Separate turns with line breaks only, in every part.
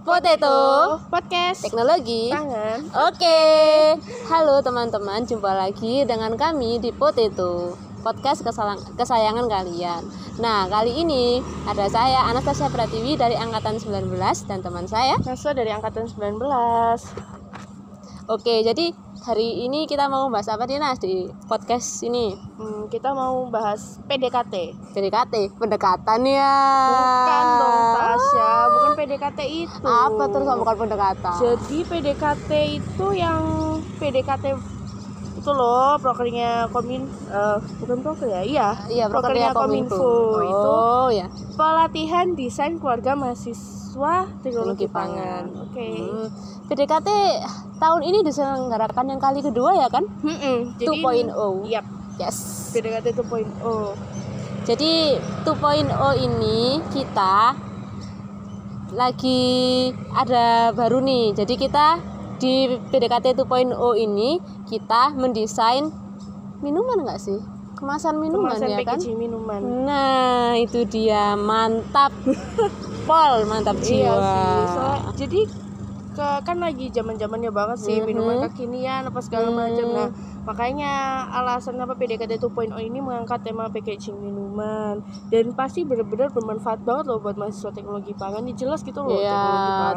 Potato
podcast
Teknologi
tangan
Oke Halo teman-teman Jumpa lagi dengan kami di Potato Podcast kesalang- kesayangan kalian Nah kali ini ada saya Anastasia Pratiwi dari Angkatan 19 Dan teman saya
Saswa dari angkatan 19
Oke jadi hari ini kita mau bahas apa nih Nas di podcast ini
Hmm, kita mau bahas PDKT
PDKT Pendekatan ya
bukan dong Tasya bukan PDKT itu
Apa terus sama bukan pendekatan
jadi PDKT itu yang PDKT itu loh prokernya komin eh, bukan proker ya iya
Iya,
prokernya
prokernya
kominfo, itu
Oh ya.
pelatihan desain keluarga mahasiswa
Teknologi
teknologi pangan
pangan.
oke
Hmm. PDKT tahun ini diselenggarakan yang kali kedua ya kan?
Mm-mm, jadi
2.0.
yap
Yes.
PDKT 2.0
Jadi 2.0 ini kita lagi ada baru nih. Jadi kita di PDKT 2.0 ini kita mendesain minuman enggak sih? Kemasan minuman
kemasan
ya kan?
packaging minuman
Nah, itu dia mantap. Pol, mantap jiwa.
Iya sih. soalnya- jadi ke- kan lagi zaman zamannya banget sih
Mhm.
minuman kekinian apa segala
Hmm.
macam. Nah makanya alasan apa PDKT 2.0 ini mengangkat tema packaging minuman dan pasti benar-benar bermanfaat banget loh buat mahasiswa teknologi pangan. Ini jelas gitu loh
Iya,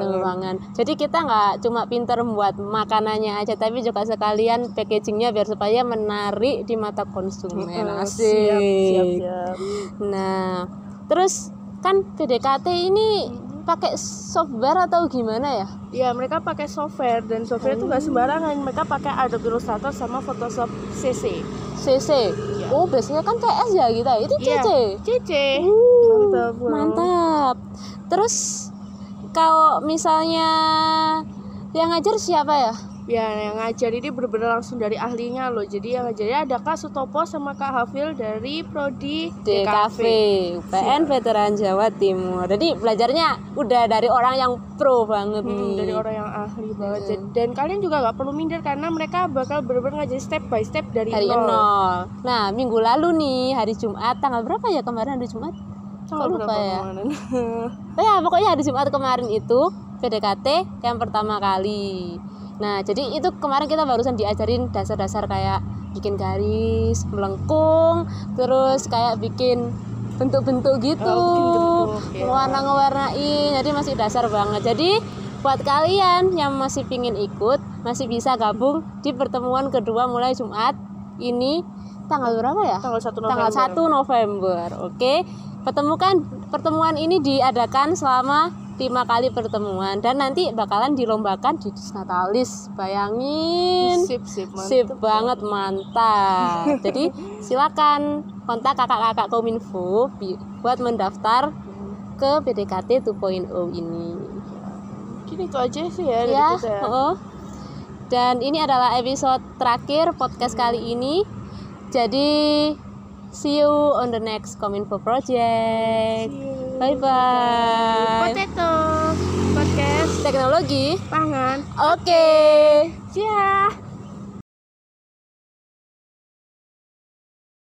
tunggu pangan. Jadi kita nggak cuma pinter membuat makanannya aja, tapi juga sekalian packagingnya biar supaya menarik di mata konsumen.
Mm-mm,
Asik.
Eh, siap, siap, siap.
Nah, terus kan PDKT ini pakai software atau gimana ya?
Ya mereka pakai software dan software itu nggak
Hmm.
sembarangan. Mereka pakai Adobe Illustrator sama Photoshop CC.
CC.
Iya.
Oh, biasanya kan CS ya kita. Itu
Iya,
CC.
CC.
Uh,
Mantap, Bro.
Mantap. Terus kalau misalnya yang ngajar siapa ya?
Ya, yang ngajar ini benar-benar langsung dari ahlinya loh. Jadi yang ngajarnya ada Kak Sutopo sama Kak Hafil dari Prodi
DKV,
DKV.
PN Veteran Jawa Timur. Jadi belajarnya udah dari orang yang pro banget nih.
Hmm, dari orang yang ahli banget.
Hmm.
Jadi- Dan kalian juga nggak perlu minder karena mereka bakal benar-benar ngajarin step by step dari,
Dari nol. Nah, minggu lalu nih hari Jumat tanggal berapa ya kemarin hari Jumat?
Tanggal
Kok lupa
berapa
ya?
kemarin?
Oh ya, pokoknya hari Jumat kemarin itu PDKT yang pertama kali. Nah, jadi itu kemarin kita barusan diajarin dasar-dasar kayak bikin garis, melengkung, terus kayak bikin bentuk-bentuk gitu,
Oh, bikin bentuk, ya.
warna-warnain. Jadi masih dasar banget. Jadi buat kalian yang masih pingin ikut, masih bisa gabung di pertemuan kedua mulai Jumat ini tanggal berapa ya?
Tanggal 1 November.
tanggal 1 November. Oke. Pertemukan pertemuan ini diadakan selama lima kali pertemuan dan nanti bakalan dilombakan di Disnatalis. Bayangin.
Sip, sip, mantap.
Sip banget mantap. Jadi silakan kontak kakak-kakak Kominfo bi- buat mendaftar ke PDKT 2.0 ini.
Mungkin itu aja sih ya, dari
Ya.
kita ya.
heeh. Dan ini adalah episode terakhir podcast kali ini. Jadi see you on the next Kominfo project. Bye bye.
Potato, podcast,
Teknologi.
pangan.
Oke.
Siap.